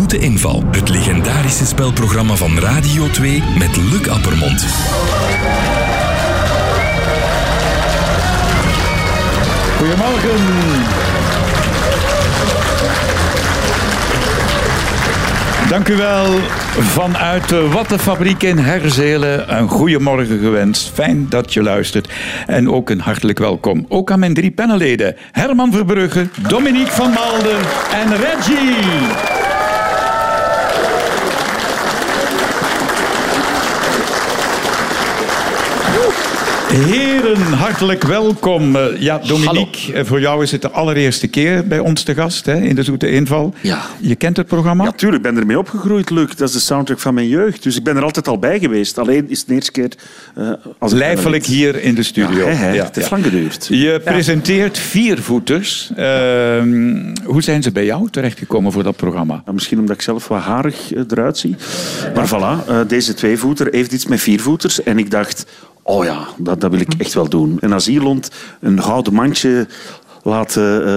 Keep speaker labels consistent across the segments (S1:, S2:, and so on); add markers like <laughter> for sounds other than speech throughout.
S1: Grote Inval. Het legendarische spelprogramma van Radio 2 met Luc Appermond.
S2: Goedemorgen. Dank u wel vanuit de Wattenfabriek in Herzelen. Een goeiemorgen gewenst. Fijn dat je luistert. En ook een hartelijk welkom. Ook aan mijn drie panelleden. Herman Verbrugge, Dominique van Malden en Reggie. Heren, hartelijk welkom. Eh, Ja, Dominique, eh, voor jou is het de allereerste keer bij ons te gast hè, in de Zoete Inval.
S3: Ja.
S2: Je kent het programma?
S4: Ja, tuurlijk, ik ben ermee opgegroeid, Luc. Dat is de soundtrack van mijn jeugd. Dus ik ben er altijd al bij geweest. Alleen is het de eerste keer... eh, als ik
S2: Lijfelijk
S4: ben er
S2: hier in de
S4: niet.
S2: studio.
S4: Ja, hè, hè.
S2: Ja,
S4: het heeft
S2: ja.
S4: lang geduurd.
S2: Je presenteert viervoeters. Ehm, hoe zijn ze bij jou terechtgekomen voor dat programma?
S4: Ja, misschien omdat ik zelf wat harig eh, eruit zie. Maar voilà, eh, deze tweevoeter heeft iets met viervoeters. En ik dacht, oh ja, dat, dat wil ik echt wel doen. En als iemand een gouden mandje laten eh,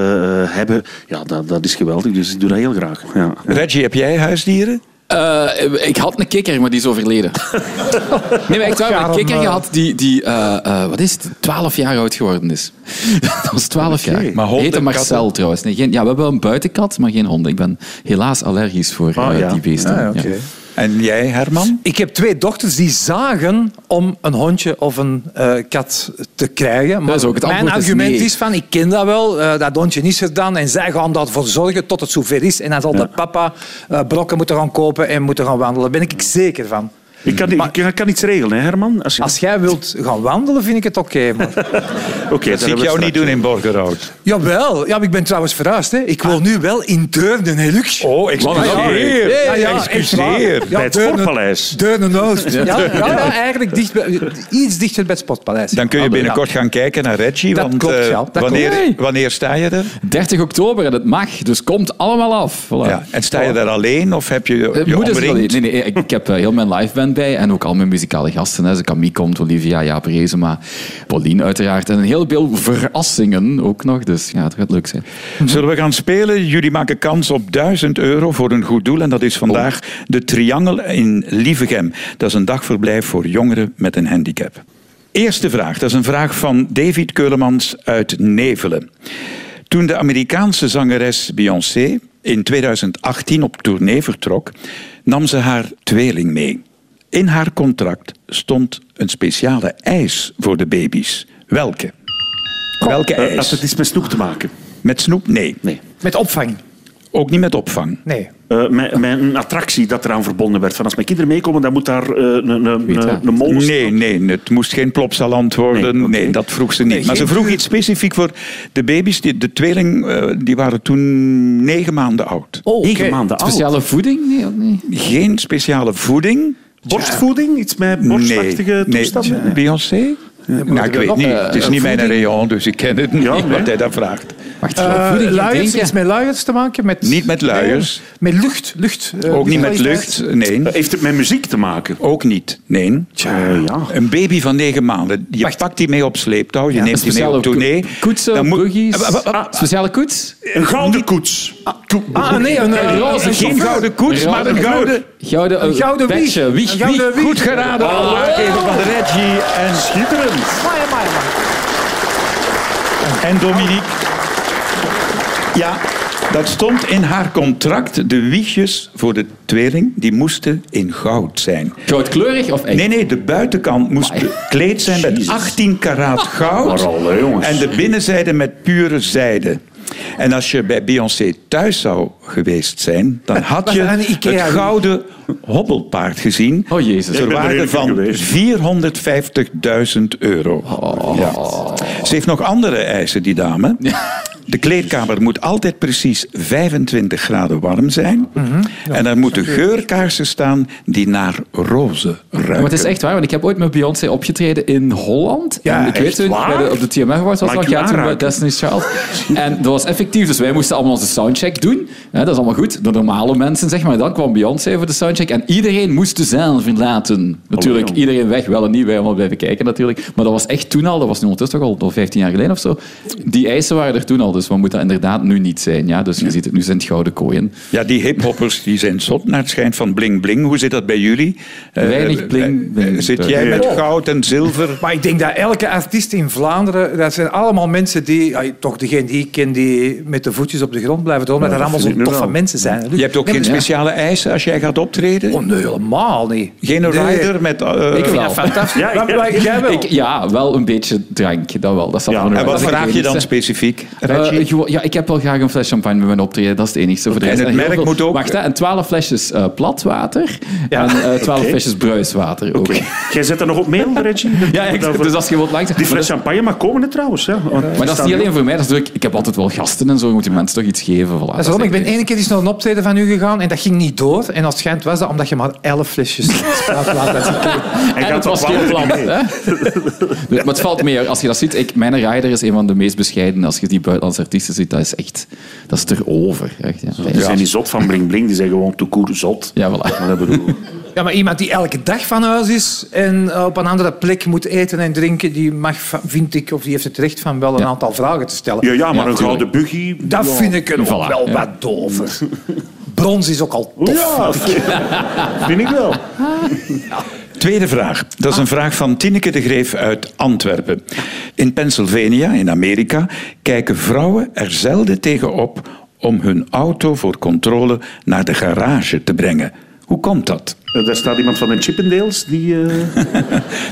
S4: hebben, ja, dat, dat is geweldig. Dus ik doe dat heel graag. Ja.
S2: Reggie, heb jij huisdieren?
S3: Eh, ik had een kikker, maar die is overleden. Nee, maar echt waar. Ik heb een kikker gehad die, die eh, eh, wat is het, 12 jaar oud geworden is. <laughs> Dat was 12 jaar.
S2: Maar honden,
S3: Heette Marcel
S2: katten?
S3: trouwens. Nee, geen, ja, we hebben wel een buitenkat, maar geen honden. Ik ben helaas allergisch voor eh,
S4: Ah, ja.
S3: die beesten.
S2: Ah, oké. En jij, Herman?
S5: Ik heb twee dochters die zagen om een hondje of een eh, kat te krijgen. Maar
S3: Dat is ook het
S5: mijn
S3: antwoord is
S5: argument is,
S3: nee.
S5: van, ik ken dat wel, eh, dat hondje is er dan en zij gaan daarvoor zorgen tot het zover is. En dan zal de papa eh, brokken moeten gaan kopen en moeten gaan wandelen. Daar ben ik zeker van.
S4: Ik, kan, ik, ik kan iets regelen, hè, Herman. Als je-
S5: Als jij wilt gaan wandelen, vind ik het oké.
S3: <laughs>
S5: maar-
S4: Oké, daar
S2: Dat zie
S4: hebben
S2: ik
S4: we
S2: jou
S4: straks.
S2: niet doen in Borgerhout.
S5: Jawel, ja, maar ik ben trouwens verhuisd. Hè. Ik
S3: Ah.
S5: woon nu wel in Deurne, hè, Luc.
S2: Oh, excuseer.
S5: Ja, ja, echt
S2: excuseer.
S5: waar. Ja,
S4: Bij het
S5: Deurne-
S4: Sportpaleis.
S5: Deurne Noord. Ja, ja, ja, eigenlijk dicht bij- iets dichter bij het Sportpaleis. Ah,
S2: Dan kun je binnenkort gaan kijken naar Reggie.
S5: Dat
S2: want,
S5: klopt,
S2: eh,
S5: ja, dat klopt.
S2: wanneer,
S3: Hey.
S2: wanneer sta je er?
S3: 30 oktober en het mag, dus komt allemaal af. Voilà.
S2: Ja. En sta je daar alleen of heb je
S3: Eh,
S2: je
S3: moeders wel-
S2: omringd?
S3: nee, nee, ik, ik heb eh, heel mijn liveband bij en ook al mijn muzikale gasten. Hè. Ze Camille komt, Olivia, Jaap Rezema, Pauline uiteraard. En een heleboel verrassingen ook nog. Dus ja, het gaat leuk zijn.
S2: Zullen we gaan spelen? Jullie maken kans op 1000 euro voor een goed doel. En dat is vandaag de Triangel in Lievegem. Dat is een dagverblijf voor jongeren met een handicap. Eerste vraag. Dat is een vraag van David Keulemans uit Nevelen. Toen de Amerikaanse zangeres Beyoncé in 2018 op tournee vertrok, nam ze haar tweeling mee. In haar contract stond een speciale eis voor de baby's. Welke? Welke
S4: Eh, Had
S2: eis?
S4: het iets met snoep te maken?
S2: Met snoep? Nee.
S4: Nee.
S5: Met opvang.
S2: Ook niet met opvang.
S5: Nee.
S4: Eh, mijn, mijn attractie dat eraan verbonden werd. Van als mijn kinderen meekomen, dan moet daar eh, een, een,
S3: Weet
S4: een,
S3: dat.
S4: een molen
S2: Nee, nee, het moest geen plopsaland worden. Nee,
S4: Nee, oké.
S2: dat vroeg ze niet. maar ze
S5: geen
S2: vroeg iets specifiek voor de baby's. Die, de tweeling, eh, die waren toen negen maanden oud.
S5: Oh, oké.
S4: Negen maanden oud.
S3: Speciale voeding? Nee, ook niet.
S2: Geen speciale voeding.
S4: Borstvoeding? Iets met borstachtige
S2: nee,
S4: toestanden?
S2: nee. Beyoncé? nou, ik weet
S3: nog,
S2: niet.
S3: eh,
S2: het is
S3: eh,
S2: niet mijn
S3: voeding?
S2: rayon, dus ik ken het niet
S4: Ja, nee.
S2: wat hij daar vraagt.
S3: Wacht,
S5: Eh,
S3: voeding? Ik
S5: luiers,
S3: denk,
S5: iets
S3: ja.
S5: met luiers te maken? Met,
S2: Niet met luiers.
S5: Met lucht. lucht eh,
S2: Ook niet met
S5: kwaliteit.
S2: lucht, nee.
S4: Eh, Heeft het met muziek te maken?
S2: Ook niet, nee.
S4: Eh, ja.
S2: Een baby van negen maanden, je pakt die mee op sleeptouw, je
S3: Een
S2: neemt die mee op tournee.
S3: ko- koetsen, Ah,
S2: Dan moet-
S3: boogies.
S2: Eh, wa- wa- wa-
S3: Speciale koets?
S4: Een gouden koets.
S5: Ah, nee, een, eh, roze
S2: Geen
S5: chauffeur.
S2: gouden koets, maar een gouden...
S3: Gouden, eh,
S5: Een gouden wieg.
S3: bedje, wieg,
S5: Een gouden
S3: wieg.
S5: wieg.
S2: Goed geraden,
S5: Oh,
S2: aangeven van Reggie en,
S4: Schitterend.
S5: Maar, maar, maar.
S2: en Dominique. Ja, dat stond in haar contract. De wiegjes voor de tweeling, die moesten in goud zijn.
S3: Goudkleurig of echt?
S2: Nee, nee, de buitenkant moest bekleed zijn met
S4: Jezus.
S2: 18 karaat goud.
S4: Maar alle jongens.
S2: En de binnenzijde met pure zijde. En als je bij Beyoncé thuis zou geweest zijn, dan had
S5: Was
S2: je
S5: er een
S2: het
S5: Ikea?
S2: gouden hobbelpaard gezien.
S3: Oh, Jezus.
S2: Ter
S4: ben er
S2: waarde
S4: eerlijk
S2: van
S4: geweest.
S2: 450.000 euro.
S3: Oh.
S2: Ja. Ze heeft nog andere eisen, die dame. De kleedkamer moet altijd precies 25 graden warm zijn.
S3: Mhm.
S2: En er moeten geurkaarsen staan die naar rozen ruiken.
S3: Maar het is echt waar, want ik heb ooit met Beyoncé opgetreden in Holland.
S2: Ja,
S3: en ik weet
S2: echt
S3: toen,
S2: waar?
S3: bij de- op de TMF Awards was
S4: Mag
S3: dat,
S4: ik
S3: ja,
S4: je
S3: toen bij
S4: aanraken?
S2: <laughs>
S3: Destiny's Child. En dat was effectief, dus wij moesten allemaal onze soundcheck doen. Ja, dat is allemaal goed, de normale mensen, zeg maar. Dan kwam Beyoncé voor de soundcheck en iedereen moest de zaal verlaten. Natuurlijk,
S2: Oh,
S4: jong.
S3: iedereen weg, wel en niet, wij allemaal blijven kijken natuurlijk. Maar dat was echt toen al, dat was nu ondertussen toch al, al 15 jaar geleden of zo. Die eisen waren er toen al, dus Dus wat moet dat inderdaad nu niet zijn? Ja? Dus je ziet het, nu zijn het gouden kooien.
S2: Ja, die hiphoppers die zijn zot naar het schijnt van bling bling. Hoe zit dat bij jullie? Eh,
S3: Weinig bling,
S2: eh,
S3: bling.
S2: Zit jij met
S5: Oh.
S2: goud en zilver?
S5: Maar ik denk dat elke artiest in Vlaanderen, dat zijn allemaal mensen die, ja, toch degene die ik ken, die met de voetjes op de grond blijven dromen,
S4: Ja,
S5: dat dat
S4: dat
S5: allemaal
S4: vind
S5: zo'n
S4: ik nu
S5: toffe
S4: wel.
S5: mensen zijn.
S2: Je hebt ook geen speciale eisen als jij gaat optreden?
S5: Oh, nee, helemaal niet.
S2: Geen
S5: Nee.
S2: rider met... eh,
S3: Ik wel.
S5: Fantastisch.
S4: Ja,
S5: Maar- maar jij wel.
S3: Ik, ja, wel een beetje drank, dat wel. Dat staat
S4: Ja,
S3: voor me
S2: En
S3: wel.
S2: wat
S3: Dat
S2: vraag
S3: ik
S2: je
S3: weet
S2: dan
S3: niet,
S2: specifiek,
S3: eh,
S2: Reggie?
S3: eh, gewoon- ja, ik heb wel graag een fles champagne bij mijn optreden, dat is het enigste. Voor de
S2: En
S3: rest
S2: het
S3: heel
S2: merk moet ook-
S3: Wacht, hè, en twaalf flesjes eh, platwater en eh twaalf
S4: Oké.
S3: flesjes bruiswater ook.
S4: Jij zet er nog op mail,
S3: <laughs>
S4: Reggie? Dat-
S3: Ja, ik-
S4: daarvoor-
S3: dus als je wilt langs...
S4: Die
S3: maar
S4: fles
S3: dat-
S4: champagne mag komen, hè, trouwens. Ja, want
S3: Maar dat is niet alleen voor mij, dat is ook- ik heb altijd wel gasten en zo, je moet die mensen toch iets geven. Voilà,
S5: Dat is
S3: dat
S5: waarom, ik
S3: is
S5: ben
S3: echt-
S5: één keer eens naar een optreden van u gegaan en dat ging niet door. En als schijnt was dat omdat je maar elf flesjes <laughs> spraakplaat had gekregen.
S4: Hij
S3: En het
S4: gaat
S3: was
S4: op
S3: geen
S4: wandelen.
S2: <laughs>
S3: plan. hè? Nee, maar het valt mee. hoor. Als je dat ziet, ik, mijn rider is een van de meest bescheiden. Als je die buitenlandse artiesten ziet, dat is echt... Dat is erover. Echt, ja.
S4: Die zijn niet zot van Bling Bling, die zijn gewoon te koer zot.
S3: Ja, voilà.
S4: Maar dat bedoel <laughs> ik.
S5: Ja, maar iemand die elke dag van huis is en eh, op een andere plek moet eten en drinken, die mag, va- vind ik, of die heeft het recht van wel een
S3: Ja.
S5: aantal vragen te stellen.
S4: Ja, ja, maar
S3: Ja,
S4: een gouden buggy...
S5: Dat
S4: ja.
S5: vind ik er
S3: voilà,
S5: wel
S3: ja.
S5: wat dover. Brons is ook al tof.
S4: Ja, vind ik wel.
S2: Tweede vraag. Dat is een vraag van Tineke de Greef uit Antwerpen. In Pennsylvania, in Amerika, kijken vrouwen er zelden tegen op om hun auto voor controle naar de garage te brengen. Hoe komt dat?
S4: Eh, Daar staat iemand van de Chippendales die eh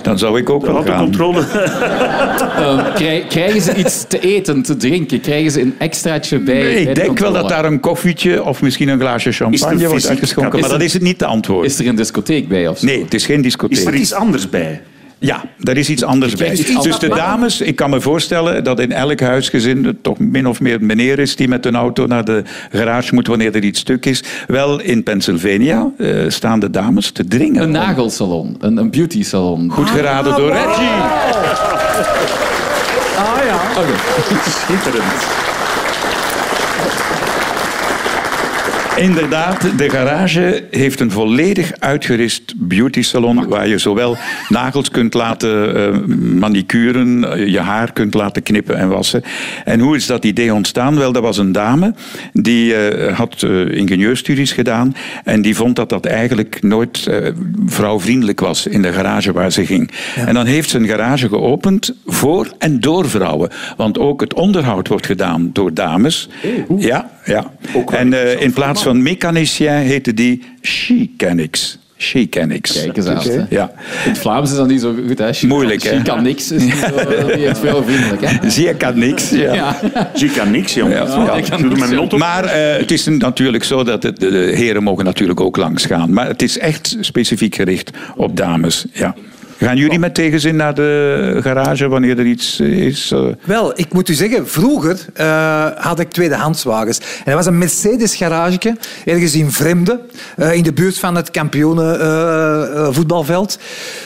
S2: Dan zou ik ook
S4: de
S2: wel gaan.
S4: autocontrole...
S3: <laughs>
S4: <laughs>
S3: Ehm, krij- krijgen ze iets te eten, te drinken? Krijgen ze een extraatje bij? bij de
S2: Ik denk wel
S3: controle?
S2: dat daar een koffietje of misschien een glaasje champagne wordt
S4: fysiek
S2: uitgeschonken,
S4: kap-
S2: maar
S4: is
S2: dat is het niet de antwoord.
S3: Is er een discotheek bij of zo?
S2: Nee, het is geen
S4: Is er
S2: discotheek.
S4: iets anders bij?
S2: Ja, daar is iets anders bij.
S3: Kijk, iets anders.
S2: Dus de dames, ik kan me voorstellen dat in elk huisgezin het toch min of meer een meneer is die met een auto naar de garage moet wanneer er iets stuk is. Wel, in Pennsylvania eh, staan de dames te dringen.
S3: Een
S2: om-
S3: nagelsalon, een, een beauty salon.
S2: Goed geraden door Reggie. Oh,
S5: Ah ja.
S4: Schitterend.
S2: Inderdaad, de garage heeft een volledig uitgerist beauty salon waar je zowel nagels kunt laten eh, manicuren, eh, je haar kunt laten knippen en wassen. En hoe is dat idee ontstaan? Wel, dat was een dame die eh, had eh, ingenieurstudies gedaan en die vond dat dat eigenlijk nooit eh, vrouwvriendelijk was in de garage waar ze ging. En dan heeft ze een garage geopend voor en door vrouwen, want ook het onderhoud wordt gedaan door dames. Ja, ja. En eh, in plaats van mechanicien heette die She-Canics. She-Canics.
S3: Kijk eens aan. hè.
S2: Ja.
S3: In het Vlaams is dat niet zo goed. Hè? She
S2: Moeilijk,
S3: kan,
S2: hè?
S3: She kan niks. Is niet zo, eh, niet echt veel vriendelijk. Hè?
S2: Zeer kan niks. Ja.
S3: Ja.
S4: Je kan niks, jongen.
S2: Ja,
S4: Ja,
S2: ja.
S4: Ik doe mijn mond op.
S2: Maar eh, het is natuurlijk zo dat het, de, de heren mogen natuurlijk ook langs gaan. Maar het is echt specifiek gericht op dames. Ja. Gaan jullie met tegenzin naar de garage wanneer er iets eh, is? eh?
S5: Wel, ik moet u zeggen, vroeger eh, had ik tweedehandswagens. En dat was een Mercedes-garage, ergens in Vreemde, eh, in de buurt van het kampioenen eh, eh, voetbalveld.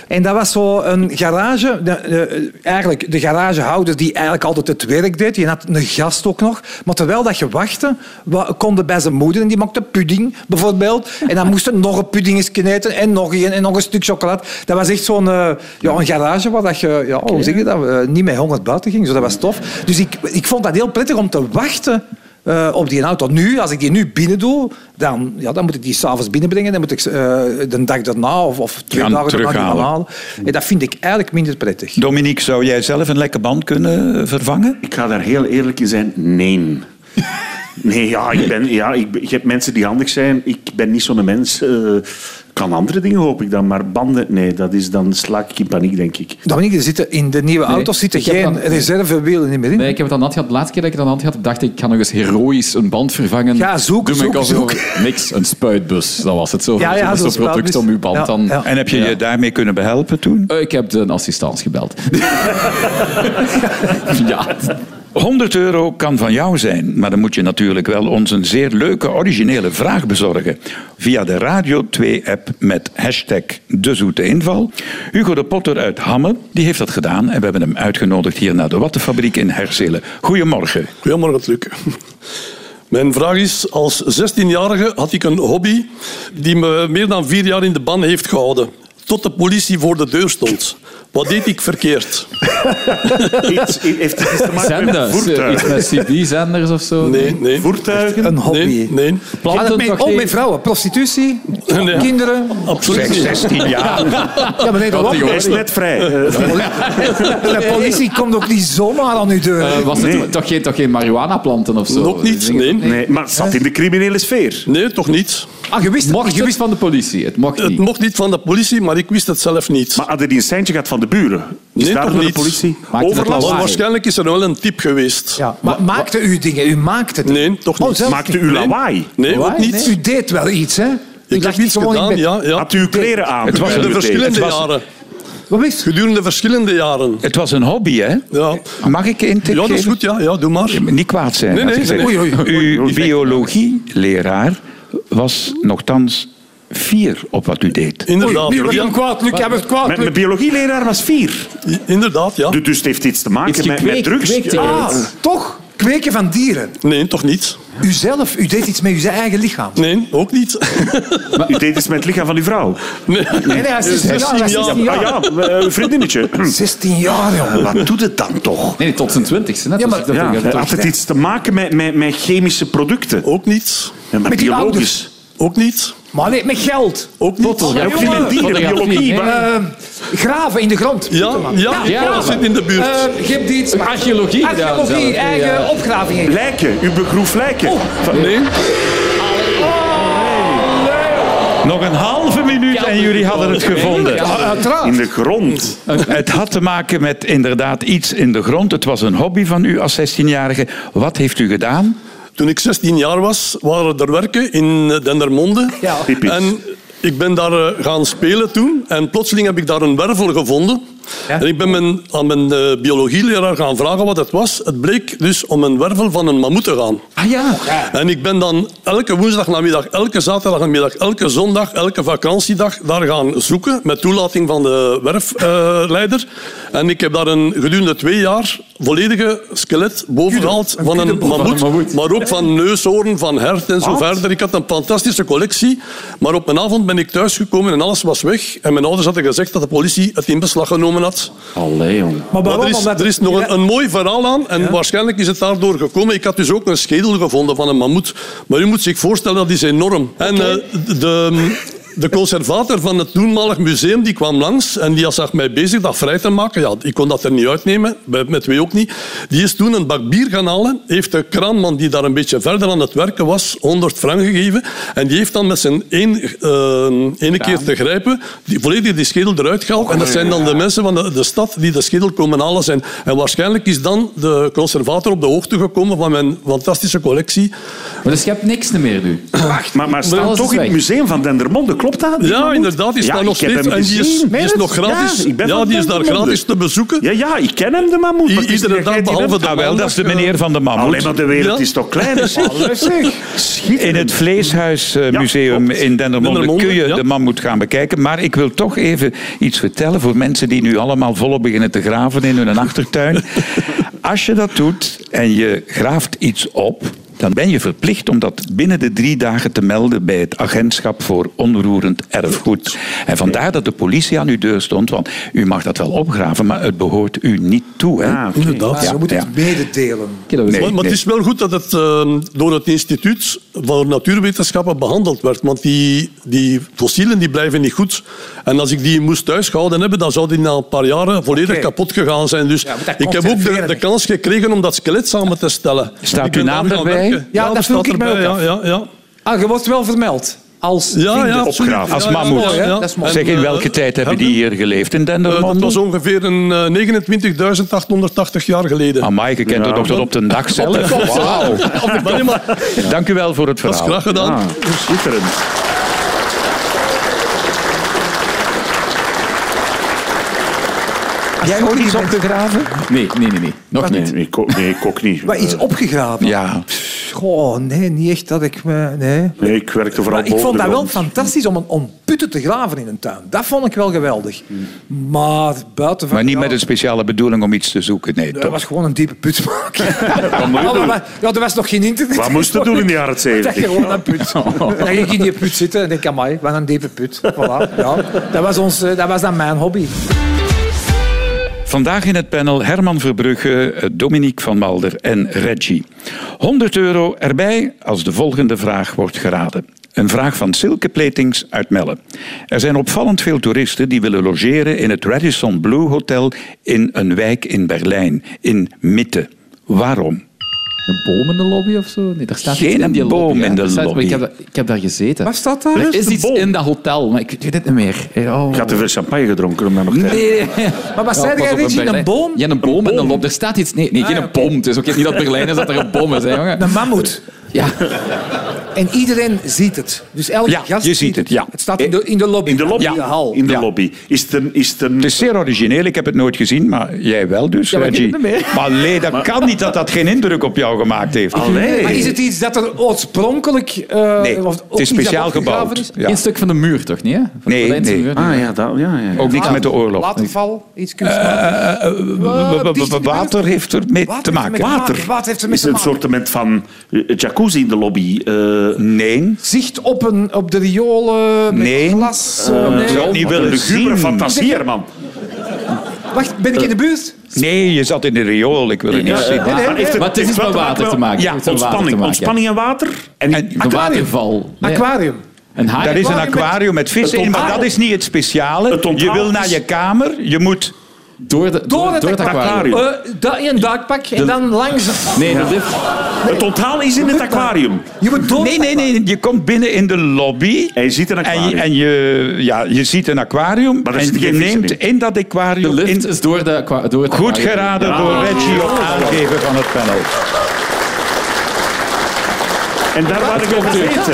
S5: En dat was zo een garage, de- de- eigenlijk de garagehouder die eigenlijk altijd het werk deed. Je had een gast ook nog. Maar terwijl dat je wachtte, wa- konden bij zijn moeder en die maakte pudding bijvoorbeeld. En dan moest er nog een pudding eens kneten en nog een en nog een stuk chocolade. Dat was echt zo'n eh, ja, een garage waar dat je, ja, hoe zeg je dat, eh, niet met honger buiten ging. Zo, dat was tof. Dus ik, ik vond dat heel prettig om te wachten. eh, op die auto. Nu, als ik die nu binnen doe, dan, ja, dan moet ik die s'avonds binnenbrengen. Dan moet ik ze, eh, de dag daarna of, of twee
S2: Gaan
S5: dagen daarna die gaan
S2: terughalen.
S5: halen. En dat vind ik eigenlijk minder prettig.
S2: Dominique, zou jij zelf een lekke band kunnen eh, vervangen?
S4: Ik ga daar heel eerlijk in zijn. Nee. Nee, ja, ik ben, ja ik, ben- je hebt mensen die handig zijn. Ik ben niet zo'n mens. Eh, kan andere dingen, hoop ik dan. Maar banden, nee, dat is dan slaak ik in paniek, denk ik.
S5: Dominique, er zitten in de nieuwe
S3: Nee,
S5: auto's zitten
S3: ik heb
S5: geen
S3: dat-
S5: reservewielen meer in.
S3: Nee, ik heb het aan dat gehad. De laatste keer dat ik het aan dat had, dacht ik, ik ga nog eens heroïs een band vervangen.
S5: Ja, zoek,
S3: Doe me
S5: zoek,
S3: ik alsof-
S5: zoek.
S3: Niks, een spuitbus. Dat was het zo.
S5: Ja, ja,
S3: zo'n
S5: zo'n
S3: product om
S5: spuitbus.
S3: uw band
S5: Ja,
S3: dan...
S5: ja.
S2: En heb je je daarmee kunnen behelpen toen?
S3: Eh, Ik heb de assistance gebeld.
S6: <laughs>
S3: ja,
S2: 100 euro kan van jou zijn, maar dan moet je natuurlijk wel ons een zeer leuke, originele vraag bezorgen. Via de Radio 2-app met hashtag De Zoete Inval. Hugo de Potter uit Hamme, die heeft dat gedaan en we hebben hem uitgenodigd hier naar de Wattenfabriek in Herzelen. Goedemorgen.
S6: Goedemorgen, Luc. Mijn vraag is, als 16-jarige had ik een hobby die me meer dan vier jaar in de ban heeft gehouden. Tot de politie voor de deur stond. Wat deed ik verkeerd?
S4: Iets, heeft iets te maken met
S3: Zenders, eh, iets
S4: voertuigen?
S3: met CB-zenders of zo.
S6: Nee, nee.
S4: Voertuigen?
S5: Een hobby.
S6: Nee, nee.
S5: Had
S3: Planten
S5: het mee-
S3: toch
S5: oh,
S3: geen-
S5: met vrouwen. Prostitutie,
S6: Nee.
S5: kinderen.
S6: Absoluut niet.
S2: 16 jaar.
S5: Ja, maar nee, dat
S3: die
S5: was-
S4: Hij is net vrij. Eh,
S5: De politie komt ook niet zomaar aan uw deur.
S3: Was het
S4: Nee.
S3: toch geen, toch geen marihuana planten of zo?
S6: Nog niet, nee.
S4: nee, maar het zat in de criminele sfeer.
S6: Nee, toch niet.
S5: ah, je wist het
S3: Mocht
S5: niet, je
S3: het
S5: wist-
S3: van de politie, het mocht
S6: Het
S3: niet.
S6: mocht niet van de politie, maar ik wist het zelf niet.
S4: Maar hadden die een seintje gehad van de buren? Is
S6: Nee,
S4: daar
S6: toch
S4: door de
S6: niet.
S4: politie
S3: het
S6: Maar
S3: lawaai?
S4: overlast?
S6: waarschijnlijk is er wel een tip geweest.
S5: Ja, maar maakte u dingen? U maakte het.
S6: Nee, toch
S5: Oh,
S6: niet.
S5: zelf
S4: Maakte u lawaai?
S6: Nee, ook
S5: niet.
S6: niet.
S5: U deed wel iets, hè? U
S6: Ik
S5: lag
S6: heb
S5: niet
S6: iets
S5: gewoon in
S6: gedaan,
S5: bed.
S6: ja. ja.
S4: Had u uw kleren aan?
S2: Het was
S4: bij
S2: een
S6: De
S4: de
S6: verschillende
S2: het was-
S6: jaren.
S5: Wat wist u?
S6: Gedurende verschillende jaren.
S2: Het was een hobby, hè?
S6: Ja,
S2: Mag ik een tip
S6: ja dat is
S2: geven?
S6: goed. Ja, ja doe maar.
S2: Niet kwaad zijn.
S6: Nee, nee,
S2: had ik
S6: nee,
S2: gezegd.
S6: nee.
S2: Uw biologieleraar was nogthans fier op wat u deed.
S6: Inderdaad.
S5: Nu wordt
S6: Ja,
S5: hem kwaad, Luc. Jij wordt kwaad,
S4: Met
S5: Luc.
S4: mijn biologieleraar was vier.
S6: inderdaad, ja.
S4: Du- Dus het heeft iets te maken
S3: Iets
S4: met, met
S3: gekweekt,
S4: drugs.
S3: gekweekt, hè?
S5: Ah, toch? Kweken van dieren.
S6: Nee, toch niet.
S5: Uzelf, u deed iets met uw eigen lichaam.
S6: Nee, ook niet. <laughs>
S4: U deed iets met het lichaam van uw vrouw.
S6: Nee.
S5: Nee, nee, hij is 16 jaar. hij is 16
S4: Ah
S5: jaar.
S4: ja, eh, uw
S5: <laughs>
S4: vriendinnetje.
S5: 16 jaar, jongen.
S4: Wat doet het dan toch?
S3: Nee, tot zijn twintigste. Net
S5: Ja, maar-
S3: als ik dat
S4: Ja,
S3: vroeg had.
S4: had het iets te maken met, met, met chemische producten?
S6: Ook niet.
S4: Ja, maar
S5: Met die
S4: biologisch.
S6: Ook niet.
S5: Maar nee, met geld.
S6: Ook niet.
S5: Ja,
S4: Ja, ook niet
S5: jongen.
S4: met dieren,
S3: Fotografie,
S4: biologie.
S3: nee.
S4: maar-
S5: Eh, graven in de grond.
S6: Ja, ja,
S5: Ja,
S6: ja, zit in de buurt.
S5: Eh, je hebt iets...
S3: Archeologie gedaan zelf,
S5: Archeologie,
S3: ja.
S5: eigen opgravingen.
S4: Lijken, u begroef lijken.
S5: Oh,
S4: Van-
S6: Nee.
S2: Nog een halve minuut en jullie hadden het gevonden.
S5: Ja, uiteraard.
S4: In de grond.
S2: Het had te maken met inderdaad iets in de grond. Het was een hobby van u als 16-jarige. Wat heeft u gedaan?
S6: Toen ik 16 jaar was, waren er werken in eh, Dendermonde.
S5: Ja.
S4: Typisch.
S6: En ik ben daar eh, gaan spelen toen. En plotseling heb ik daar een wervel gevonden.
S5: Ja.
S6: En ik ben mijn, aan mijn eh, biologieleraar gaan vragen wat het was. Het bleek dus om een wervel van een mammoet te gaan.
S5: Ah ja.
S6: En ik ben dan elke woensdagnamiddag, elke zaterdagnamiddag, elke zondag, elke vakantiedag daar gaan zoeken met toelating van de werfleider. en ik heb daar een, gedurende twee jaar volledige skelet bovengehaald van een mammoet, maar ook van neushoorn, van hert en zo verder. Ik had een fantastische collectie, maar op een avond ben ik thuisgekomen en alles was weg. En mijn ouders hadden gezegd dat de politie het in beslag genomen had.
S3: Allee, jongen.
S5: Maar waarom?
S6: Maar er is,
S5: Omdat-
S6: er is nog een, een mooi verhaal aan en waarschijnlijk is het daardoor gekomen. Ik had dus ook een schedel gevonden van een mammoet. Maar u moet zich voorstellen, dat is enorm. En eh, de, de conservator van het toenmalig museum die kwam langs en die zag mij bezig dat vrij te maken. Ja, ik kon dat er niet uitnemen, bij- met twee ook niet. Die is toen een bak bier gaan halen, heeft de kraanman die daar een beetje verder aan het werken was, 100 frank gegeven. En die heeft dan met zijn één, eh, ene keer te grijpen, die, volledig die schedel eruit gehaald. En dat zijn dan de mensen van de, de stad die de schedel komen halen zijn. En waarschijnlijk is dan de conservator op de hoogte gekomen van mijn fantastische collectie.
S3: Maar dus je hebt niks meer nu.
S4: Maar, maar
S3: Alles
S4: staat
S3: is
S4: toch in het
S3: weg.
S4: museum van Dendermonde, klopt dat? die
S6: Ja,
S4: mammoet?
S6: inderdaad, die
S4: Ja,
S6: staat nog
S4: ik heb
S6: steeds.
S4: hem
S6: En die is,
S4: gezien.
S6: die is nog
S4: Ja,
S6: gratis.
S4: ik ben
S6: Ja,
S4: van
S6: die is daar
S4: Dendermonde.
S6: gratis te bezoeken.
S4: Ja, ja, ik ken hem, de mammoet. maar
S6: I-
S4: het is
S6: Iedere
S4: niet dat
S6: dag
S4: jij die
S6: behalve
S4: hebt.
S6: de eh,
S2: Ah, wel, dat is de meneer van de
S4: Alleen
S2: mammoet.
S4: maar de wereld
S6: Ja.
S4: is toch <laughs> kleiner.
S2: In het
S4: Ja,
S2: Vleeshuismuseum
S4: klopt.
S2: in Dendermonde
S6: Dendermonde,
S2: kun je
S6: ja.
S2: de mammoet gaan bekijken. Maar ik wil toch even iets vertellen voor mensen die nu allemaal volop beginnen te graven in hun
S4: <laughs>
S2: achtertuin. Als je dat doet en je graaft iets op, dan ben je verplicht om dat binnen de drie dagen te melden bij het agentschap voor onroerend erfgoed. En vandaar dat de politie aan uw deur stond, want u mag dat wel opgraven, maar het behoort u niet toe. Hè?
S4: Ah, oké.
S6: Inderdaad.
S5: Ze moeten het mededelen.
S6: maar, maar het is wel goed dat het ehm, door het instituut voor natuurwetenschappen behandeld werd. Want die, die fossielen die blijven niet goed. En als ik die moest thuisgehouden hebben, dan zou die na een paar jaren volledig
S5: Oké.
S6: kapot gegaan zijn. Dus
S5: Ja, maar dat
S6: ik heb ook de,
S5: conserveren
S6: de
S5: niet.
S6: kans gekregen om dat skelet samen te stellen.
S2: Staat
S6: Ik ben
S2: uw naam
S6: daar gaan
S2: erbij?
S6: werken.
S5: Ja, dat
S6: er
S5: vroeg
S6: staat
S5: ik mij
S6: erbij,
S5: ook
S6: ja, ja, ja.
S5: Ah, je wordt wel vermeld. Als vinder.
S6: Ja, ja, absoluut.
S4: Opgraven.
S2: Als
S6: Ja, ja,
S2: mammoet.
S6: ja, ja.
S5: Dat is mooi.
S2: Zeg, in
S6: En,
S2: welke
S6: eh,
S2: tijd hebben die hier geleefd in
S6: eh,
S2: Dendermonde?
S6: dat was ongeveer een eh, 29.880 jaar geleden. <laughs>
S2: Amai, Ah, je kent het nog tot op de dag zelf. Wauw.
S6: Maar nee, maar-
S2: Dank u wel voor het
S6: dat is
S2: verhaal.
S6: graag gedaan.
S4: Ah, schitterend.
S2: Jij ook iets opgegraven?
S3: Nee, nee, nee, nee. Nog
S4: Nee,
S3: niet.
S4: nee, ik ook, nee, ik ook niet. Eh,
S5: Maar iets opgegraven.
S2: Ja.
S5: Goh, nee, niet echt dat ik me... Nee.
S4: Nee, ik werkte vooral
S5: Maar ik
S4: boven
S5: vond
S4: de
S5: dat wel
S4: grond.
S5: fantastisch om, een, om putten te graven in een tuin. Dat vond ik wel geweldig. Maar buiten van...
S2: Maar niet
S5: ja,
S2: met een speciale bedoeling om iets te zoeken. Nee,
S5: Dat
S2: toch?
S5: was gewoon een diepe put maken.
S4: Wat moet je
S5: Ja,
S4: doen?
S5: maar- ja, er was nog geen internet.
S4: Wat moest je doen in de jaren
S5: Dat je
S4: 70?
S5: gewoon een put. <laughs> Dan ging ik in die put zitten en denk, amai, wat een diepe put. Voilà. Ja. Dat, was ons, eh, dat was dan mijn hobby.
S2: Vandaag in het panel Herman Verbrugge, eh, Dominique van Malder en Reggie. 100 euro erbij als de volgende vraag wordt geraden. Een vraag van Silke Pletings uit Melle. Er zijn opvallend veel toeristen die willen logeren in het Radisson Blue Hotel in een wijk in Berlijn, in Mitte. Waarom?
S3: Een boom in de lobby of zo? Nee, daar staat
S2: Geen
S3: iets in die
S2: boom
S3: lobby, hè.
S2: in de
S3: Er staat- maar
S2: lobby.
S3: Ik heb, da- ik heb daar gezeten.
S5: Waar staat daar?
S3: Er
S4: Waar is
S3: is
S4: de
S3: iets
S4: boom?
S3: in dat hotel, maar ik weet het niet meer. Oh.
S4: Ik had te veel champagne gedronken om dat nog te hebben.
S3: Nee.
S5: Maar wat zei jij, Richie? Een boom?
S3: Ja, een boom en een lob. Er staat iets... Nee, nee geen
S5: ja, oké.
S3: boom. Het is ook niet dat Berlijn is dat er een bom is, hè, jongen.
S5: Een mammoet.
S3: Ja.
S5: En iedereen ziet het. Dus elke
S2: Ja,
S5: gast
S2: je ziet het, ja.
S5: Het staat in de, in de lobby.
S4: In de lobby?
S5: In de hal.
S4: In de
S2: Ja.
S4: lobby. Is het een... Is het een
S2: Het is zeer origineel, ik heb het nooit gezien, maar jij wel dus,
S3: maar ik
S2: Reggie.
S3: heb het niet
S2: Maar nee, dat kan niet dat dat geen indruk op jou gemaakt heeft.
S4: Allee.
S5: Maar is het iets dat er oorspronkelijk... eh,
S2: Nee,
S5: of
S2: het is
S5: ook iets dat
S2: speciaal
S5: opgegraven
S2: gebouwd.
S5: is?
S2: Ja.
S3: Een stuk van de muur, toch niet? Eh, Hè? Van de
S2: Nee,
S3: Berlijnse
S2: nee.
S3: muur.
S4: Ah ja, dat, ja, ja.
S2: Ook niks met de oorlog.
S5: Ah,
S2: Eh,
S5: Waterval, iets kunstmatig.
S2: W- w- w- Water heeft er mee
S5: Water
S2: te
S5: heeft
S2: maken.
S5: met water. Wat heeft er mee
S4: Is
S5: te
S4: het een
S5: maken?
S4: soort van eh, jacuzzi in de lobby? eh,
S2: Nee,
S5: Zicht op, een, op de riolen, met
S2: Nee.
S5: glas. eh, nee.
S2: ik zou het niet
S4: wat een
S2: willen
S4: lugubere
S2: zien.
S4: fantasie, Herman.
S5: Wacht, ben ik in de buurt?
S2: Nee, je zat in de riool, ik wil het niet zien.
S4: Maar heeft
S3: Maar het is iets
S4: wel
S3: met water te maken.
S4: Ja,
S3: Het heeft met water
S4: ontspanning.
S3: te maken.
S4: Ontspanning en water. En,
S2: En-
S3: Een
S4: aquarium.
S3: waterval.
S2: Eh.
S3: Nee.
S5: Aquarium.
S3: Een haai.
S2: Daar is een
S5: aquarium met-
S2: aquarium met vissen in, maar
S4: onthaal-
S2: dat is niet het speciale.
S4: Het
S2: Je
S4: onthaal
S2: wil
S4: is-
S2: naar je kamer, je moet...
S3: Door, de, door, door het aquarium.
S5: Eh, da- in een duikpak en dan langs...
S3: Nee, dat is...
S4: Het onthaal is in het aquarium.
S5: Je moet door...
S2: Nee, nee, nee, je komt binnen in de lobby...
S4: En je ziet een
S2: En,
S4: aquarium.
S2: je, en je, ja, je ziet een aquarium
S4: Maar er
S2: en
S4: zitten
S2: je
S4: geen vissen
S2: neemt
S4: in.
S2: in dat aquarium...
S3: De lift
S2: in-
S3: is door, de, aqua- door het
S2: Goed
S3: aquarium.
S2: geraden door Reggie op aangeven van het panel.
S4: En daar waar ik over zitten.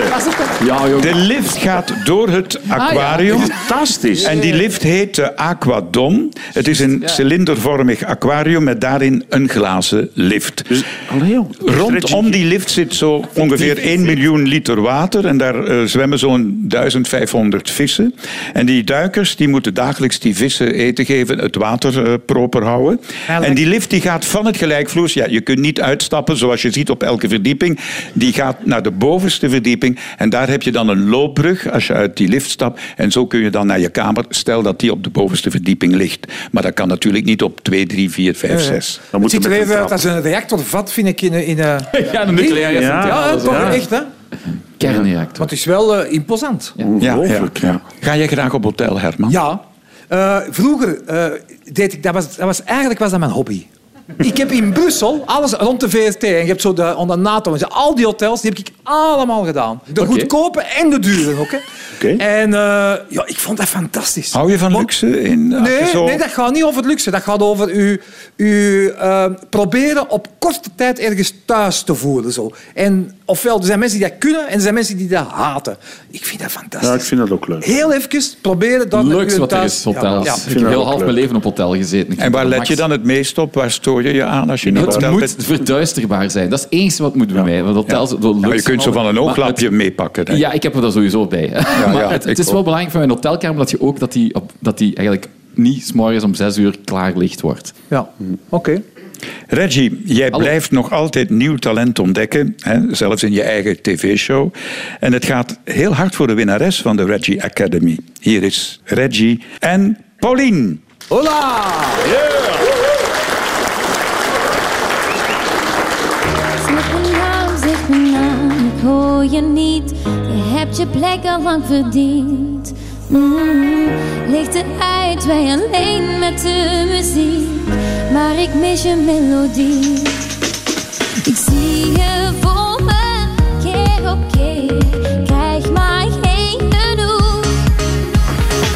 S3: Ja, jongen. Ah,
S2: De lift gaat door het aquarium.
S3: <laughs>
S4: Fantastisch.
S2: En die lift heet de Aquadom. Het is een cilindervormig aquarium met daarin een glazen lift.
S4: Dus, Allee, joh.
S2: Rondom die lift zit zo ongeveer 1 miljoen liter water. En daar eh, zwemmen zo'n 1500 vissen. En die duikers die moeten dagelijks die vissen eten geven, het water eh, proper houden. En die lift die gaat van het gelijkvloers. Ja, je kunt niet uitstappen, zoals je ziet op elke verdieping. Die gaat naar de bovenste verdieping. En daar heb je dan een loopbrug als je uit die lift stapt. En zo kun je dan naar je kamer. Stel dat die op de bovenste verdieping ligt. Maar dat kan natuurlijk niet op 2, 3, 4, 5, 6.
S4: Dan
S5: Het
S4: moet
S5: ziet
S4: je
S5: er
S4: met
S5: even
S4: een
S5: uit
S4: trap.
S5: als een reactorvat, vind ik, in een... In een...
S3: Ja, een nucleaire
S4: Ja.
S3: centrale.
S5: Ja,
S3: dat is
S5: toch
S3: wel een
S5: echt, hè? Maar
S3: Kernreactor.
S5: het is wel eh, imposant.
S4: Ongelooflijk, ja.
S2: Ga jij graag op hotel, Herman?
S5: Ja. Eh, vroeger eh, deed ik... Dat was, dat was, eigenlijk was dat mijn hobby. Ik heb in Brussel alles rond de VRT. En je hebt zo de, onder NATO en zo, al die hotels, die heb ik allemaal gedaan. De goedkope en de dure ook. Hè.
S4: Oké.
S5: En eh, ja, ik vond dat fantastisch.
S2: Hou je van
S5: Want-
S2: luxe? In, als je
S5: Nee,
S2: zo-
S5: nee, dat gaat niet over luxe. Dat gaat over u, u eh, proberen op korte tijd ergens thuis te voelen. Zo. En ofwel, er zijn mensen die dat kunnen en er zijn mensen die dat haten. Ik vind dat fantastisch.
S4: Ja, ik vind dat ook leuk.
S5: Heel even proberen dat
S3: Leukst wat er
S5: thuis...
S3: is, hotels.
S5: Ja,
S3: Ik heb
S4: dat
S3: heel
S4: ook
S3: half
S4: leuk.
S3: mijn leven op hotel gezeten. Ik
S2: En
S3: vind
S2: waar
S3: dat
S2: let
S3: max.
S2: je dan het meest op? Waar stoor je je aan als je naar
S3: Het
S2: hotel
S3: moet
S2: bent?
S3: verduisterbaar zijn. Dat is het enige wat moet bij mij. Want hotels, dat lukt
S2: Nou, je kunt zo
S3: allemaal.
S2: van een
S3: Maar
S2: ooglapje meepakken. denk ik.
S3: Ja, ik heb er dat sowieso bij. <laughs> maar
S2: ja,
S3: het,
S2: ik
S3: het is wel
S2: ook.
S3: belangrijk voor mijn hotelkamer dat, je ook, dat, die, op- dat die eigenlijk niet s'morgens om zes uur klaar licht wordt.
S5: ja. oké.
S2: Reggie, jij
S3: Hallo.
S2: blijft nog altijd nieuw talent ontdekken. Hè? Zelfs in je eigen tv-show. En het gaat heel hard voor de winnares van de Reggie Academy. Hier is Reggie en Pauline.
S5: Hola!
S7: Snoepenhuis, ik ben naam, ik hoor je niet. Je hebt je plek al lang verdiend. Mm, licht eruit, wij alleen met de muziek. Maar ik mis je melodie. Ik zie je voor me, keer op keer. Krijg maar geen genoeg.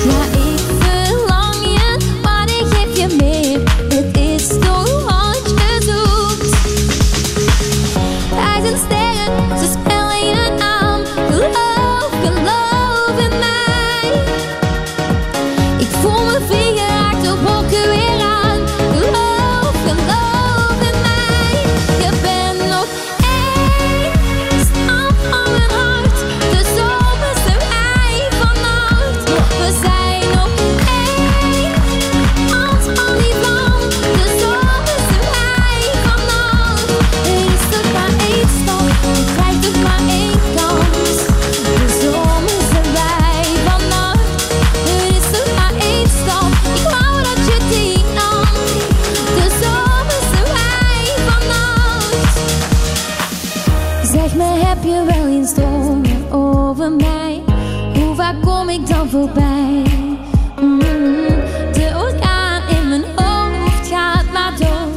S7: Ja, ik verlang je, maar ik geef je meer. Het is toch wat je zoekt. Ijzen sterren, ze spellen je naam. Geloof, geloof in mij. Ik voel me vliegen, raak de wolken weer aan. Geloof, geloof in mij. Je bent nog één stap van mijn hart. waar kom ik dan voorbij? Mm, De orkaan in mijn hoofd gaat maar door,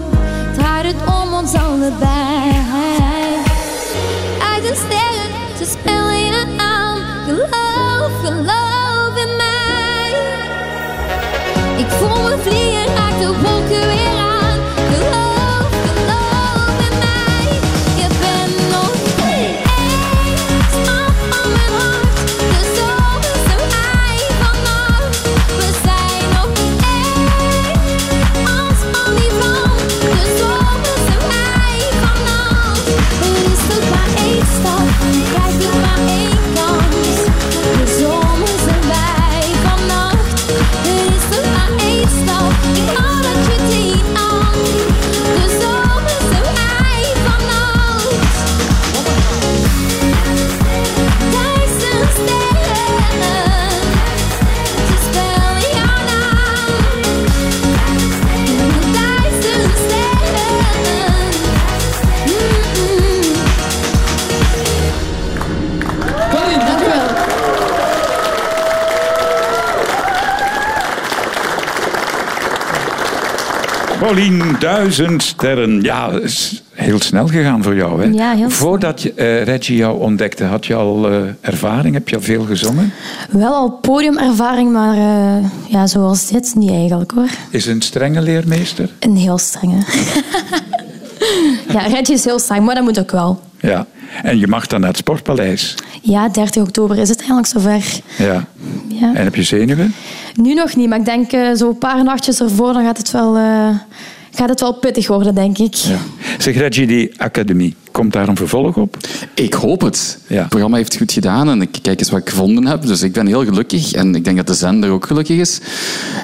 S7: draait het om ons allebei. Uit een sterren te spelen aan, geloof, geloof in mij. Ik voel me vliegen, raak de wolken weer aan. Geloof, geloof in mij. Je bent nooit eens af van mijn hart. De zon is zo high vannacht. We zijn nog niet eens als van die man. De zon is zo high vannacht. Er is nog maar één stap, kijk er maar één kans. De zon is erbij vannacht. Er is nog maar één stap, ik hou dat je die aan. De zon is erbij vannacht. Duizend sterren, ze spelen jouw naam. Duizend sterren. Mm, mm.
S8: Colin, dankjewel.
S2: Paulien, duizend sterren. Ja, dat is heel snel gegaan voor jou. Hè?
S7: Ja, heel snel.
S2: Voordat je, eh, Reggie jou ontdekte, had je al eh, ervaring? Heb je al veel gezongen?
S9: Wel al podiumervaring, maar eh, ja, zoals dit niet
S7: <laughs>
S9: eigenlijk hoor.
S2: Is een strenge leermeester?
S9: Een heel strenge. ja, Reggie is heel streng, maar dat moet ook wel.
S2: Ja. En je mag dan naar het Sportpaleis.
S9: Ja, 30 oktober is het eindelijk zover.
S2: Ja.
S9: Ja.
S2: En heb je zenuwen?
S9: Nu nog niet, maar ik denk eh, zo'n paar nachtjes ervoor dan gaat het wel, eh, gaat het wel pittig worden, denk ik.
S2: Ja. Zeg, Reggie, die academie, komt daar een vervolg op?
S3: Ik hoop het.
S2: Ja.
S3: Het programma heeft het goed gedaan en ik kijk eens wat ik gevonden heb. Dus ik ben heel gelukkig en ik denk dat de zender ook gelukkig is.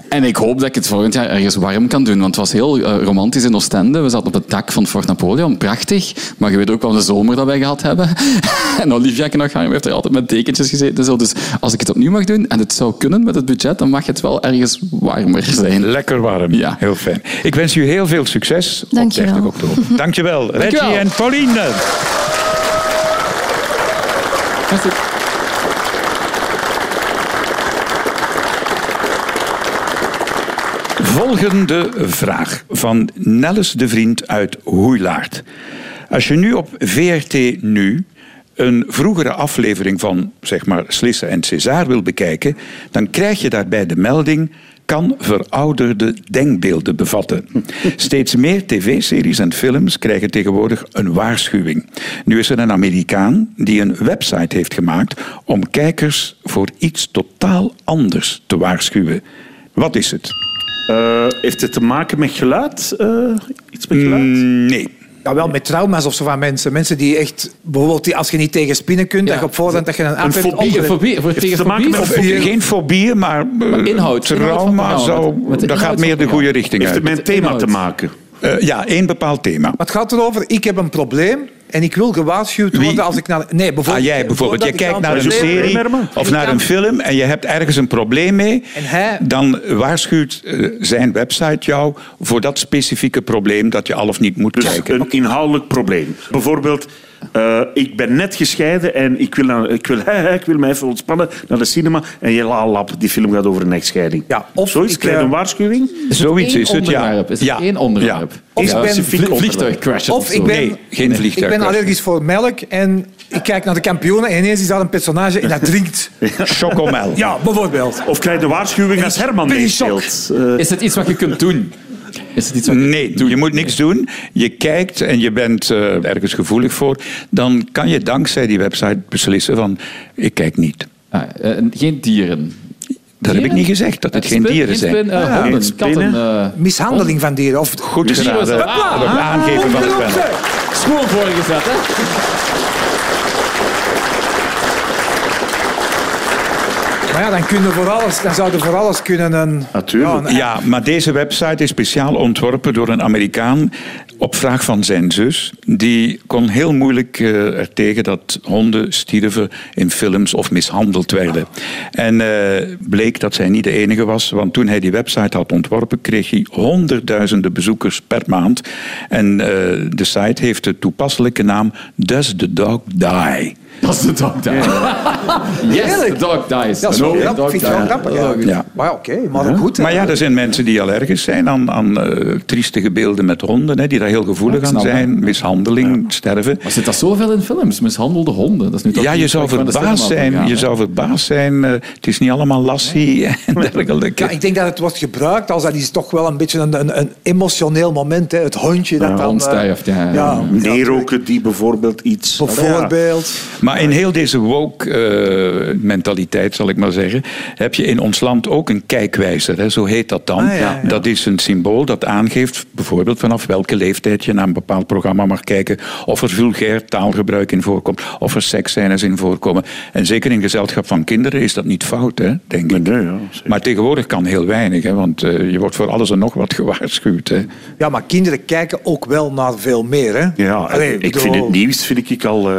S3: En ik hoop dat ik het volgend jaar ergens warm kan doen, want het was heel eh, romantisch in Oostende. We zaten op het dak van Fort Napoleon, prachtig. Maar je weet ook wel de zomer dat wij gehad hebben. <laughs> en Olivia Knagheim heeft er altijd met dekentjes gezeten. en zo. Dus als ik het opnieuw mag doen en het zou kunnen met het budget, dan mag het wel ergens warmer zijn.
S2: Lekker warm.
S3: Ja.
S2: Heel fijn. Ik wens u heel veel succes
S9: Dank
S2: op
S9: je
S2: 30
S9: wel.
S2: oktober. Dankjewel, Reggie
S3: Dankjewel.
S2: en Pauline. Volgende vraag van Nellis de Vriend uit Hoeilaard. Als je nu op VRT Nu een vroegere aflevering van zeg maar Slisse en César wil bekijken, dan krijg je daarbij de melding kan verouderde denkbeelden bevatten. Steeds meer tv-series en films krijgen tegenwoordig een waarschuwing. Nu is er een Amerikaan die een website heeft gemaakt om kijkers voor iets totaal anders te waarschuwen. Wat is het?
S4: Eh, heeft het te maken met geluid? Eh, iets
S2: Mm,
S4: met geluid?
S2: Nee.
S5: Ja, wel met trauma's of zo van mensen. Mensen die echt, bijvoorbeeld die, als je niet tegen spinnen kunt, dat je op voorhand dat je een app hebt.
S4: fobie,
S5: onder-
S3: Fobie, voor
S4: Heeft het te maken
S3: tegofobie?
S4: met
S3: Of-
S5: Fobieën.
S2: Geen fobieën, maar, eh,
S3: inhoud, inhoud van
S2: trauma
S3: het programma.
S2: zou,
S3: Met- met de
S2: dat
S3: inhoud
S2: gaat
S3: van
S2: meer
S3: het
S2: de goede richting
S4: Heeft het
S2: uit.
S4: met een thema
S3: Inhoud.
S4: te maken?
S2: Eh, ja, één bepaald thema.
S5: Maar het gaat erover, ik heb een probleem en ik wil gewaarschuwd
S2: Wie?
S5: worden als ik naar... Nee, bijvoorbeeld...
S2: Ah, jij bijvoorbeeld.
S5: voordat
S2: Je
S5: ik
S2: kijkt naar
S5: het
S2: een
S5: probleem-
S2: serie
S4: Mermen?
S2: of naar een film en je hebt ergens een probleem mee.
S5: En hij-
S2: Dan waarschuwt eh, zijn website jou voor dat specifieke probleem dat je al of niet moet
S4: Dus
S2: kijken.
S4: een inhoudelijk probleem. Bijvoorbeeld, eh, ik ben net gescheiden en ik wil, naar- ik, wil, <laughs> ik wil mij even ontspannen naar de cinema. En je la lap, die film gaat over een echtscheiding.
S5: Ja, of
S4: Zoiets,
S5: ik,
S4: krijg je
S5: eh,
S4: een waarschuwing.
S2: Zoiets
S3: Eén
S2: is het, ja.
S3: onderwerp. Is het
S2: ja.
S3: één onderwerp?
S2: Ja.
S5: Of
S3: Ja,
S5: ik ben-
S3: specifiek
S4: Vliegtuig-
S3: vliegtuigcrashes
S5: Of
S3: zo.
S5: ik ben,
S2: Nee, geen
S5: ik
S2: vliegtuig.
S5: ben allergisch voor melk en ik kijk naar de kampioenen en ineens is daar een personage en dat drinkt.
S2: Chocomel.
S4: <laughs>
S5: Ja, bijvoorbeeld.
S4: Of krijg je een waarschuwing als Herman
S5: ben in shock.
S4: meespeelt. Eh,
S3: Is het iets wat je kunt doen? Is het iets wat je
S2: Nee, je moet niks doen. Je kijkt en je bent eh, ergens gevoelig voor. Dan kan je dankzij die website beslissen van ik kijk niet.
S3: Ah, eh, geen dieren.
S2: Dat heb ik niet gezegd, dat het geen dieren zijn.
S3: Geen eh,
S4: Ah,
S3: honden,
S4: geen
S3: katten.
S4: spinnen.
S3: eh,
S5: Mishandeling van dieren. Of
S2: Goed
S3: Dus hier
S2: gedaan.
S3: was het.
S2: hè.
S3: Ah,
S2: Op het aangeven van de pen.
S3: School voorgezet, <laughs> hè?
S5: Maar ja, dan, kun je voor alles, dan zou je voor alles kunnen een...
S4: Natuurlijk.
S5: Ja, een-
S2: Ja, maar deze website is speciaal ontworpen door een Amerikaan op vraag van zijn zus. Die kon heel moeilijk eh ertegen dat honden stierven in films of mishandeld werden. En eh, bleek dat zij niet de enige was, want toen hij die website had ontworpen, kreeg hij honderdduizenden bezoekers per maand. En eh, de site heeft de toepasselijke naam Does the Dog Die?
S3: Als de dog dies. <laughs> Yes, the
S5: Eerlijk?
S3: dog dies.
S5: Ja, dat is
S3: No, the
S5: wel grappig.
S3: dog
S5: Ik vind het wel
S3: dies.
S5: grappig.
S3: Oh,
S5: Ja.
S3: goed.
S2: Ja.
S5: Maar ja, oké, maar ook goed. hè.
S2: Maar ja, er zijn mensen die allergisch zijn aan, aan eh, triestige beelden met honden, hè, die daar heel gevoelig
S3: Ja, ik
S2: aan
S3: snap
S2: zijn, mishandeling, sterven.
S3: Maar zit dat zoveel in films? Mishandelde honden. Dat is nu toch
S2: Ja, je
S3: iets
S2: zou
S3: waar ik van de
S2: verbaasd
S3: cinema
S2: zijn.
S3: van ga,
S2: je
S3: hè?
S2: zou verbaasd zijn. eh, het is niet allemaal lassie en dergelijke.
S5: Ja, ik denk dat het wordt gebruikt als dat is toch wel een beetje een, een, een emotioneel moment. Hè. Het hondje dat dan...
S3: hond
S5: eh,
S3: stijft, ja, ja.
S4: Neerroken die bijvoorbeeld iets...
S5: Bijvoorbeeld.
S2: Maar in heel deze woke-mentaliteit, zal ik maar zeggen, heb je in ons land ook een kijkwijzer. Hè? Zo heet dat dan.
S5: Ah, ja, ja.
S2: Dat is een symbool dat aangeeft, bijvoorbeeld vanaf welke leeftijd je naar een bepaald programma mag kijken. Of er vulgair taalgebruik in voorkomt. Of er seksscènes in voorkomen. En zeker in gezelschap van kinderen is dat niet fout, hè? denk ik.
S4: Nee, nee, ja, zeker.
S2: maar tegenwoordig kan heel weinig, hè? want eh, je wordt voor alles en nog wat gewaarschuwd. Hè?
S5: Ja. ja, maar kinderen kijken ook wel naar veel meer. Hè.
S4: Ja,
S5: Allee,
S4: ik
S5: bedoel-
S4: vind het nieuws vind ik al eh,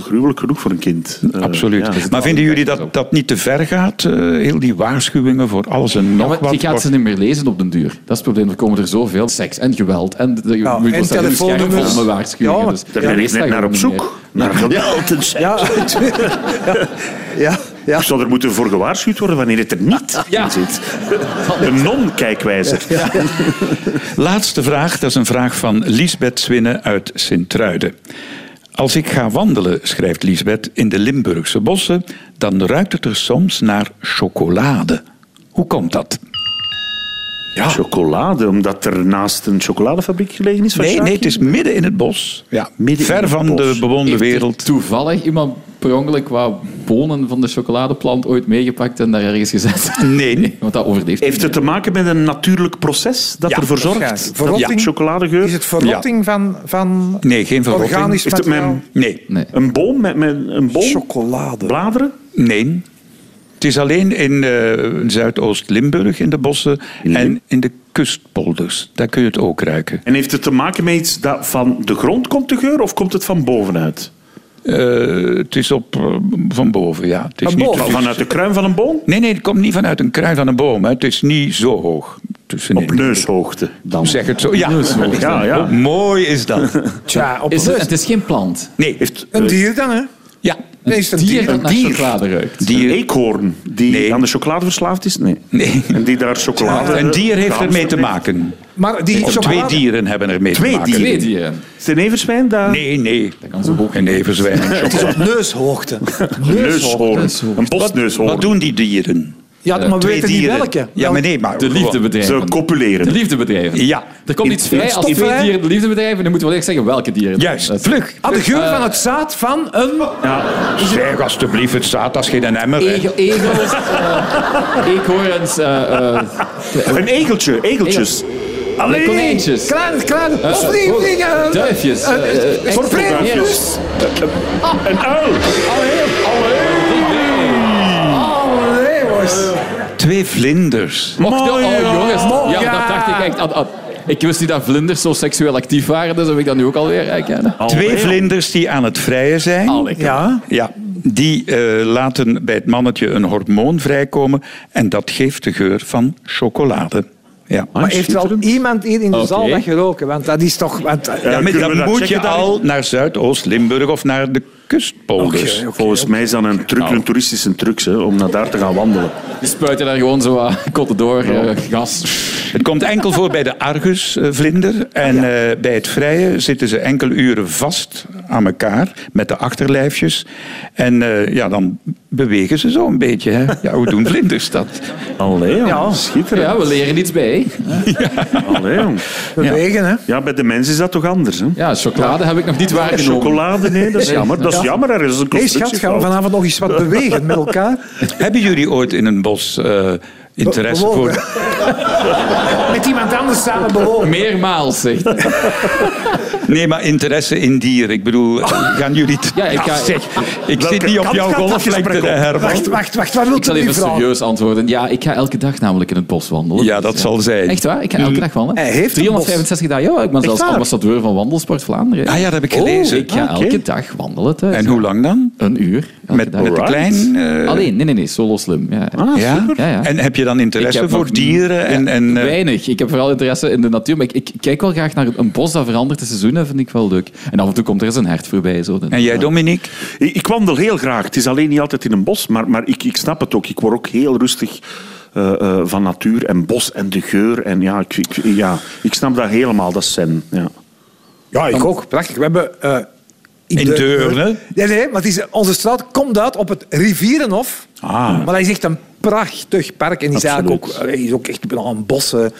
S4: gruwelijk genoeg voor een kind. Eh,
S2: Absoluut.
S4: ja.
S2: maar vinden jullie dat dat niet te ver gaat? Eh, heel die waarschuwingen voor alles en nog
S3: Ja, maar
S2: wat.
S3: je gaat ze niet meer lezen op den duur. Dat is het probleem. Er komen er zoveel seks en geweld. En de, je
S5: Ja,
S3: moet
S5: en
S3: wel zeggen, je scherm
S5: telefoonnummers.
S3: vol met waarschuwingen.
S5: Ja,
S3: dus.
S4: Daar ben ik
S3: Lees dat
S4: net naar
S3: gewoon
S4: op
S3: niet meer.
S4: zoek. Naar geweld en seks. <laughs>
S5: Ja, ja, ja.
S4: Ik Zou er moeten voor gewaarschuwd worden wanneer het er niet in zit? Een non-kijkwijzer.
S2: Laatste vraag, dat is een vraag van Liesbeth Swinnen uit Sint-Truiden. Als ik ga wandelen, schrijft Liesbeth, in de Limburgse bossen, dan ruikt het er soms naar chocolade. Hoe komt dat? Ja.
S4: Chocolade, omdat er naast een chocoladefabriek gelegen is? van
S2: Nee,
S4: Sjaak?
S2: nee, het is midden in het bos. Ja,
S4: Midden in
S2: ver
S4: het
S2: van
S4: bos.
S2: de bewoonde
S3: Heeft er
S2: wereld.
S3: Toevallig iemand per ongeluk qua bonen van de chocoladeplant ooit meegepakt en daar ergens gezet.
S2: Nee.
S3: Want dat overleeft.
S4: Heeft het te maken met een natuurlijk proces dat
S2: Ja,
S4: ervoor zorgt?
S5: waarschijnlijk.
S4: Dat
S5: Verrotting.
S4: die chocoladegeur...
S5: Is het verrotting van, van
S2: Nee, geen verrotting.
S5: organisch
S4: Heeft het
S5: materiaal?
S4: mijn
S2: Nee,
S3: Nee.
S4: Een boom met, met een boom?
S5: Chocolade.
S4: Bladeren?
S2: nee. Het is alleen in eh, Zuidoost-Limburg, in de bossen en in de kustpolders. Daar kun je het ook ruiken.
S4: En heeft het te maken met iets dat van de grond komt de geur of komt het van bovenuit?
S2: Eh, het is op, eh, van boven, ja. Het is
S5: Van
S2: niet
S5: boven?
S2: te-
S4: Vanuit de kruin van een boom?
S2: Nee, nee, het komt niet vanuit een kruin van een boom. Hè. Het is niet zo hoog. Tussenin.
S4: Op neushoogte dan.
S2: Zeg het zo. Ja,
S4: Ja, ja.
S2: Oh, mooi is dat.
S5: Tja, op
S3: Is het,
S5: rust.
S3: het is geen plant.
S2: Nee, heeft...
S5: Een dier dan, hè?
S2: Ja.
S5: Nee, is het een
S3: Dier
S5: dier.
S3: dat naar
S4: dier.
S3: chocolade ruikt.
S4: Een
S2: Dier,
S4: eekhoorn die
S2: Nee.
S4: aan de chocolade verslaafd is? Nee.
S2: nee.
S4: En die daar chocolade...
S2: Een dier heeft
S4: Ja,
S2: ermee te maken.
S5: Maar die
S2: Of twee
S5: chocolade-
S2: dieren hebben ermee te
S4: Twee
S2: maken.
S4: dieren?
S3: Twee dieren.
S4: Een everzwijn dat...
S2: Nee, nee. Dat
S3: kan zo hoog
S2: Een everzwijn.
S5: Het is op <laughs> neushoogte.
S4: Neushoorn.
S3: Neushoorn.
S4: Een bosneushoorn.
S2: Wat doen die dieren?
S5: Ja, maar we
S2: Twee
S5: weten niet
S2: dieren.
S5: welke. Nou,
S2: Ja, maar nee, maar...
S3: De liefdebedrijven.
S4: Ze
S3: De
S4: copuleren.
S3: liefdebedrijven.
S2: Ja.
S3: Er komt iets vrij als
S5: stopt
S3: twee
S5: vrij.
S3: dieren de liefdebedrijven. Dan moeten we wel echt zeggen welke dieren.
S2: Juist,
S3: Dat- Eh,
S2: vlug.
S5: Ah, de geur van het zaad van een...
S2: Zeg alstublieft, het staat als geen emmer. hè.
S3: Egel- Egels, eh, eekhoorns, eh, eh,
S4: Een egeltje, egeltjes. Allee.
S3: konijntjes.
S5: Kleine, kleine... Of die
S3: oh,
S5: dingen.
S3: duifjes,
S5: Een-
S3: eh, eh,
S5: een- Voor
S3: enkelduifjes.
S5: premies.
S4: Een uil.
S5: Allee, jongens.
S2: Twee vlinders.
S3: Mocht je- oh, jongens.
S5: Mooi,
S3: Ja,
S5: ja.
S3: dat dacht ik echt. Ah, ah, ik wist niet dat vlinders zo seksueel actief waren, dus heb ik dat nu ook alweer herkennen.
S2: Twee vlinders die aan het vrijen zijn.
S3: Al lekker.
S5: Ja.
S2: Ja, die eh, laten bij het mannetje een hormoon vrijkomen en dat geeft de geur van chocolade. Ja.
S5: Maar heeft wel iemand hier in de
S3: Oké.
S5: zaal dat geroken? Want dat is toch... Want, eh,
S2: Ja, maar
S4: Eh, kunnen
S2: dan
S4: we dat
S2: moet je
S4: checken dan?
S2: al naar Zuidoost-Limburg of naar de kustpolders.
S4: Dus Volgens mij is dat een
S5: Nou.
S4: truc, een toeristische truc, hè, om naar daar te gaan wandelen.
S3: Die spuiten daar gewoon zo wat kotten door, eh, gas.
S2: Het komt enkel voor bij de argusvlinder. En
S5: Ah,
S2: eh, bij het vrije zitten ze enkele uren vast aan elkaar met de achterlijfjes. En eh, ja, dan bewegen ze zo een beetje. Hè. Ja, hoe doen vlinders dat?
S4: Allee, jong.
S5: Ja.
S4: Schitterend.
S3: Ja, we leren iets bij. hè.
S4: Allee, jong.
S5: Bewegen, hè?
S4: Ja, bij de mens is dat toch anders, hè?
S3: Ja, chocolade heb ik nog niet waargenomen.
S4: Chocolade, nee, dat is jammer. Dat is jammer, er is een
S5: Hé,
S4: constructie.
S5: schat, gaan we vanavond
S2: <laughs>
S5: nog eens wat bewegen met elkaar?
S2: Hebben jullie ooit in een bos eh, interesse
S5: Bewogen.
S2: voor...
S5: Met iemand anders samen bewogen.
S2: <laughs>
S3: Meermaals, zegt hij.
S2: Nee, maar interesse in dieren. Ik bedoel,
S5: Oh.
S2: gaan jullie... t-
S3: Ja, ik ga-
S2: zeg, ik
S4: Welke
S2: zit niet op
S4: kant
S2: jouw
S4: gaat dat
S2: golflengte,
S4: gesprek op?
S2: Herman.
S5: Wacht, wacht, wacht. Waar wil
S3: Ik zal
S5: die
S3: even
S5: vrouw?
S3: serieus antwoorden. Ja, ik ga elke dag namelijk in het bos wandelen.
S2: Ja, dat zal zijn. Mm.
S3: Echt waar? Ik ga elke dag wandelen.
S5: Hij heeft een
S3: 365 dagen. Ja, ik ben zelfs
S5: waar?
S3: ambassadeur van Wandelsport Vlaanderen. Oh,
S2: Ah ja, dat heb ik gelezen.
S3: Ik ga
S2: Ah, oké.
S3: elke dag wandelen thuis.
S2: En hoe lang dan?
S3: Een uur. elke
S2: Met,
S3: dag.
S2: met de klein... eh,
S3: Alleen, nee, nee, nee, solo slim. Ja.
S2: ja?
S3: Ja, ja.
S2: En heb je dan
S3: Ik
S2: interesse
S3: heb
S2: voor
S3: nog-
S2: dieren? En,
S3: Ja,
S2: en, eh,
S3: Weinig. Ik heb vooral interesse in de natuur. Maar ik, ik kijk wel graag naar een bos dat verandert de seizoenen. vind ik wel leuk. En af en toe komt er eens een hert voorbij. Zo.
S2: eh, en jij, Dominique?
S4: Ik, ik wandel heel graag. Het is alleen niet altijd in een bos, maar, maar ik, ik snap het ook. Ik word ook heel rustig eh, eh, van natuur en bos en de geur. En ja, ik, ik- ja, ik snap dat helemaal, dat zen. Ja.
S5: Ja, ik ook. Prachtig. We hebben... eh,
S2: In Deurne.
S5: Nee, nee, maar het is, onze straat komt uit op het Rivierenhof.
S2: Ah.
S5: Maar dat is echt een prachtig park. En die is eigenlijk ook,
S4: Absoluut.
S5: allee, is ook echt een bossen.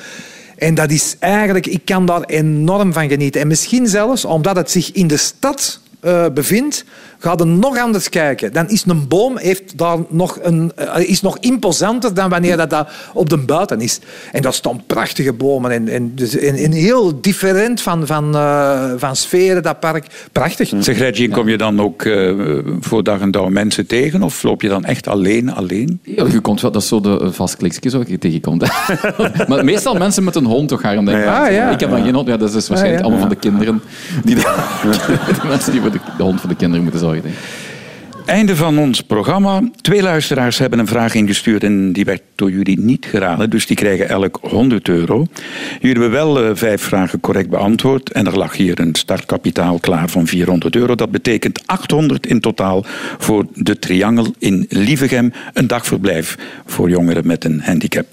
S5: En dat is eigenlijk... Ik kan daar enorm van genieten. En misschien zelfs, omdat het zich in de stad eh, bevindt, gaat het nog anders kijken. Dan is een boom heeft daar nog een, eh, is nog imposanter dan wanneer dat, dat op de buiten is. En dat staan prachtige bomen. En, en, dus, en, en heel different van, van, eh, van sferen, dat park. Prachtig.
S2: Zeg, Reggie, kom je dan ook eh, voor dag en dauw mensen tegen? Of loop je dan echt alleen, alleen?
S3: Ja, je komt wel, dat is zo de eh, vast klikje zo je tegenkomt. <laughs> maar meestal mensen met een hond toch haar denken.
S5: Ja, ja.
S3: Ik heb dan geen hond. Ja, dat is dus waarschijnlijk
S5: Ja, ja.
S3: allemaal van de kinderen.
S2: <laughs>
S3: Die <laughs> de, mensen die voor de, de hond van de kinderen moeten zorgen. denk ik.
S2: Einde van ons programma. Twee luisteraars hebben een vraag ingestuurd en die werd door jullie niet geraden. Dus die krijgen elk 100 euro. Jullie hebben wel eh, vijf vragen correct beantwoord. En er lag hier een startkapitaal klaar van 400 euro. Dat betekent 800 in totaal voor de Triangel in Lievegem. Een dagverblijf voor jongeren met een handicap.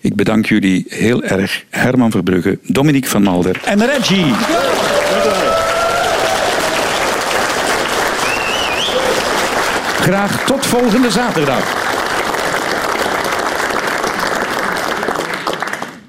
S2: Ik bedank jullie heel erg. Herman Verbrugge, Dominique van Malder en Reggie. Graag tot volgende zaterdag.